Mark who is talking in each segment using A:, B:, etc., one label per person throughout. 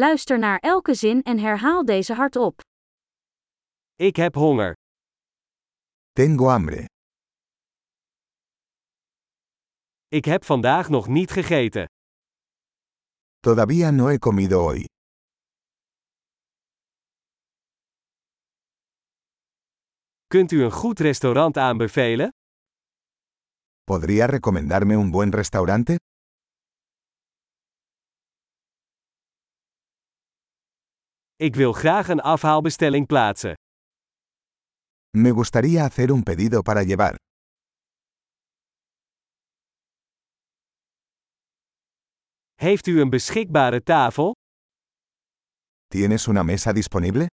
A: Luister naar elke zin en herhaal deze hardop.
B: Ik heb honger.
C: Tengo hambre.
B: Ik heb vandaag nog niet gegeten.
C: Todavía no he comido hoy.
B: Kunt u een goed restaurant aanbevelen?
C: ¿Podría recomendarme un buen restaurante?
B: Ik wil graag een afhaalbestelling plaatsen.
C: Me gustaría hacer un pedido para llevar.
B: Heeft u een beschikbare tafel?
C: ¿Tienes una mesa disponible?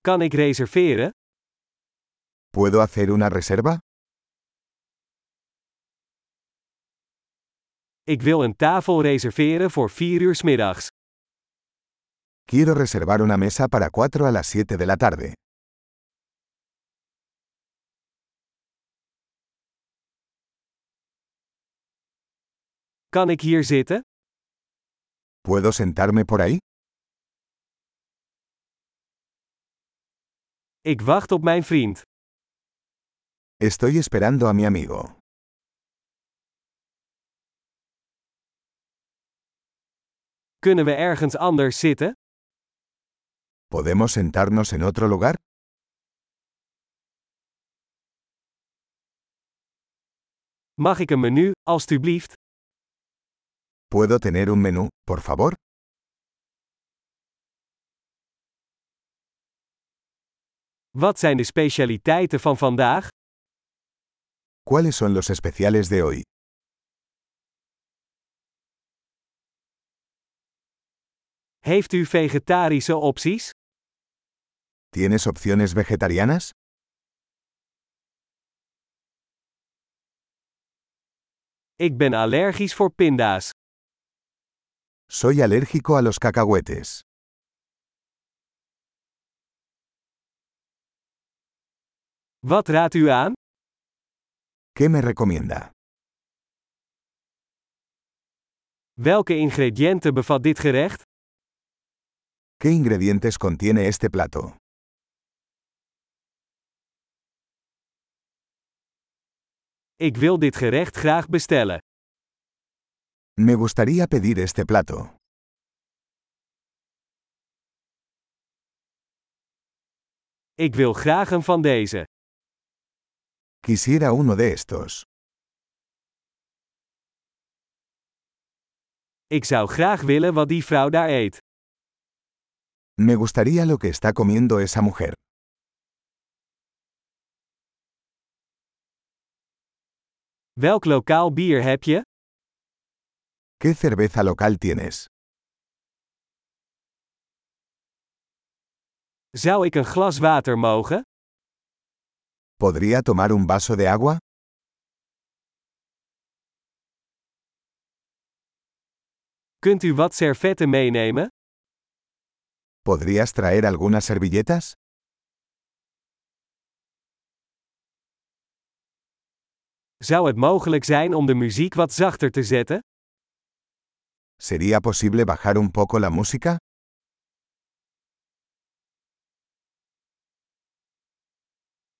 B: Kan ik reserveren?
C: ¿Puedo hacer una reserva?
B: Ik wil een tafel reserveren voor 4 uur 's middags.
C: Quiero reservar una mesa para 4 a las 7 de la tarde.
B: Kan ik hier zitten?
C: ¿Puedo sentarme por ahí?
B: Ik wacht op mijn vriend.
C: Estoy esperando a mi amigo.
B: Kunnen we ergens anders zitten?
C: ¿Podemos sentarnos en otro lugar?
B: Mag ik een menu, alstublieft?
C: ¿Puedo tener un menú, por favor?
B: Wat zijn de specialiteiten van vandaag?
C: ¿Cuáles son los especiales de hoy?
B: Heeft u vegetarische opties?
C: ¿Tienes opciones vegetarianas?
B: Ik ben allergisch voor pinda's.
C: Soy alérgico a los cacahuetes.
B: Wat raadt u aan?
C: ¿Qué me recomienda?
B: Welke ingrediënten bevat dit gerecht?
C: ¿Qué ingredientes contiene este plato?
B: Ik wil dit gerecht graag bestellen.
C: Me gustaría pedir este plato.
B: Ik wil graag een van deze.
C: Quisiera uno de estos.
B: Ik zou graag willen wat die vrouw daar eet.
C: Me gustaría lo que está comiendo esa mujer.
B: Welk lokaal bier heb je?
C: ¿Qué cerveza local tienes?
B: Zou ik een glas water mogen?
C: ¿Podría tomar un vaso de agua?
B: Kunt u wat servetten meenemen?
C: ¿Podrías traer algunas servilletas?
B: Zou het mogelijk zijn om de muziek wat zachter te zetten?
C: ¿Sería posible bajar un poco la música?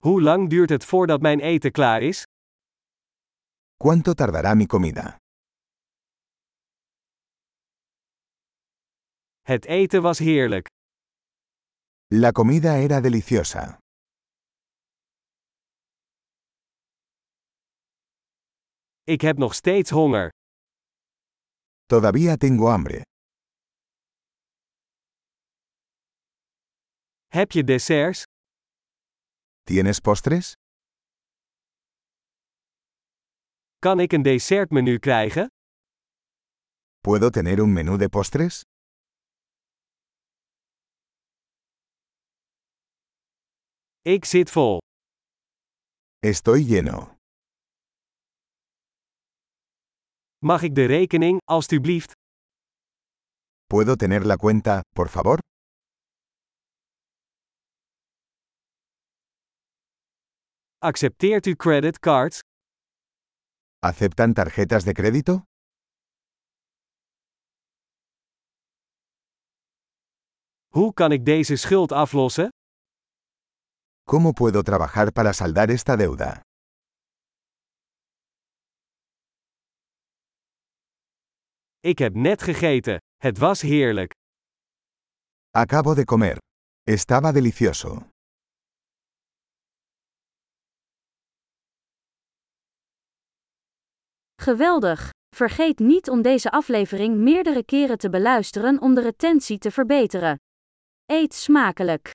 B: Hoe lang duurt het voordat mijn eten klaar is?
C: ¿Cuánto tardará mi comida?
B: Het eten was heerlijk.
C: La comida era deliciosa.
B: Ik heb nog steeds honger.
C: Todavía tengo hambre.
B: Heb je desserts?
C: ¿Tienes postres?
B: Kan ik een dessertmenu krijgen?
C: ¿Puedo tener un menú de postres?
B: Ik zit vol.
C: Estoy lleno.
B: Mag ik de rekening, alstublieft?
C: ¿Puedo tener la cuenta, por favor?
B: Accepteert u creditcards?
C: ¿Aceptan tarjetas de crédito?
B: Hoe kan ik deze schuld aflossen?
C: ¿Cómo puedo trabajar para saldar esta deuda?
B: Ik heb net gegeten. Het was heerlijk.
C: Acabo de comer. Estaba delicioso.
A: Geweldig! Vergeet niet om deze aflevering meerdere keren te beluisteren om de retentie te verbeteren. Eet smakelijk!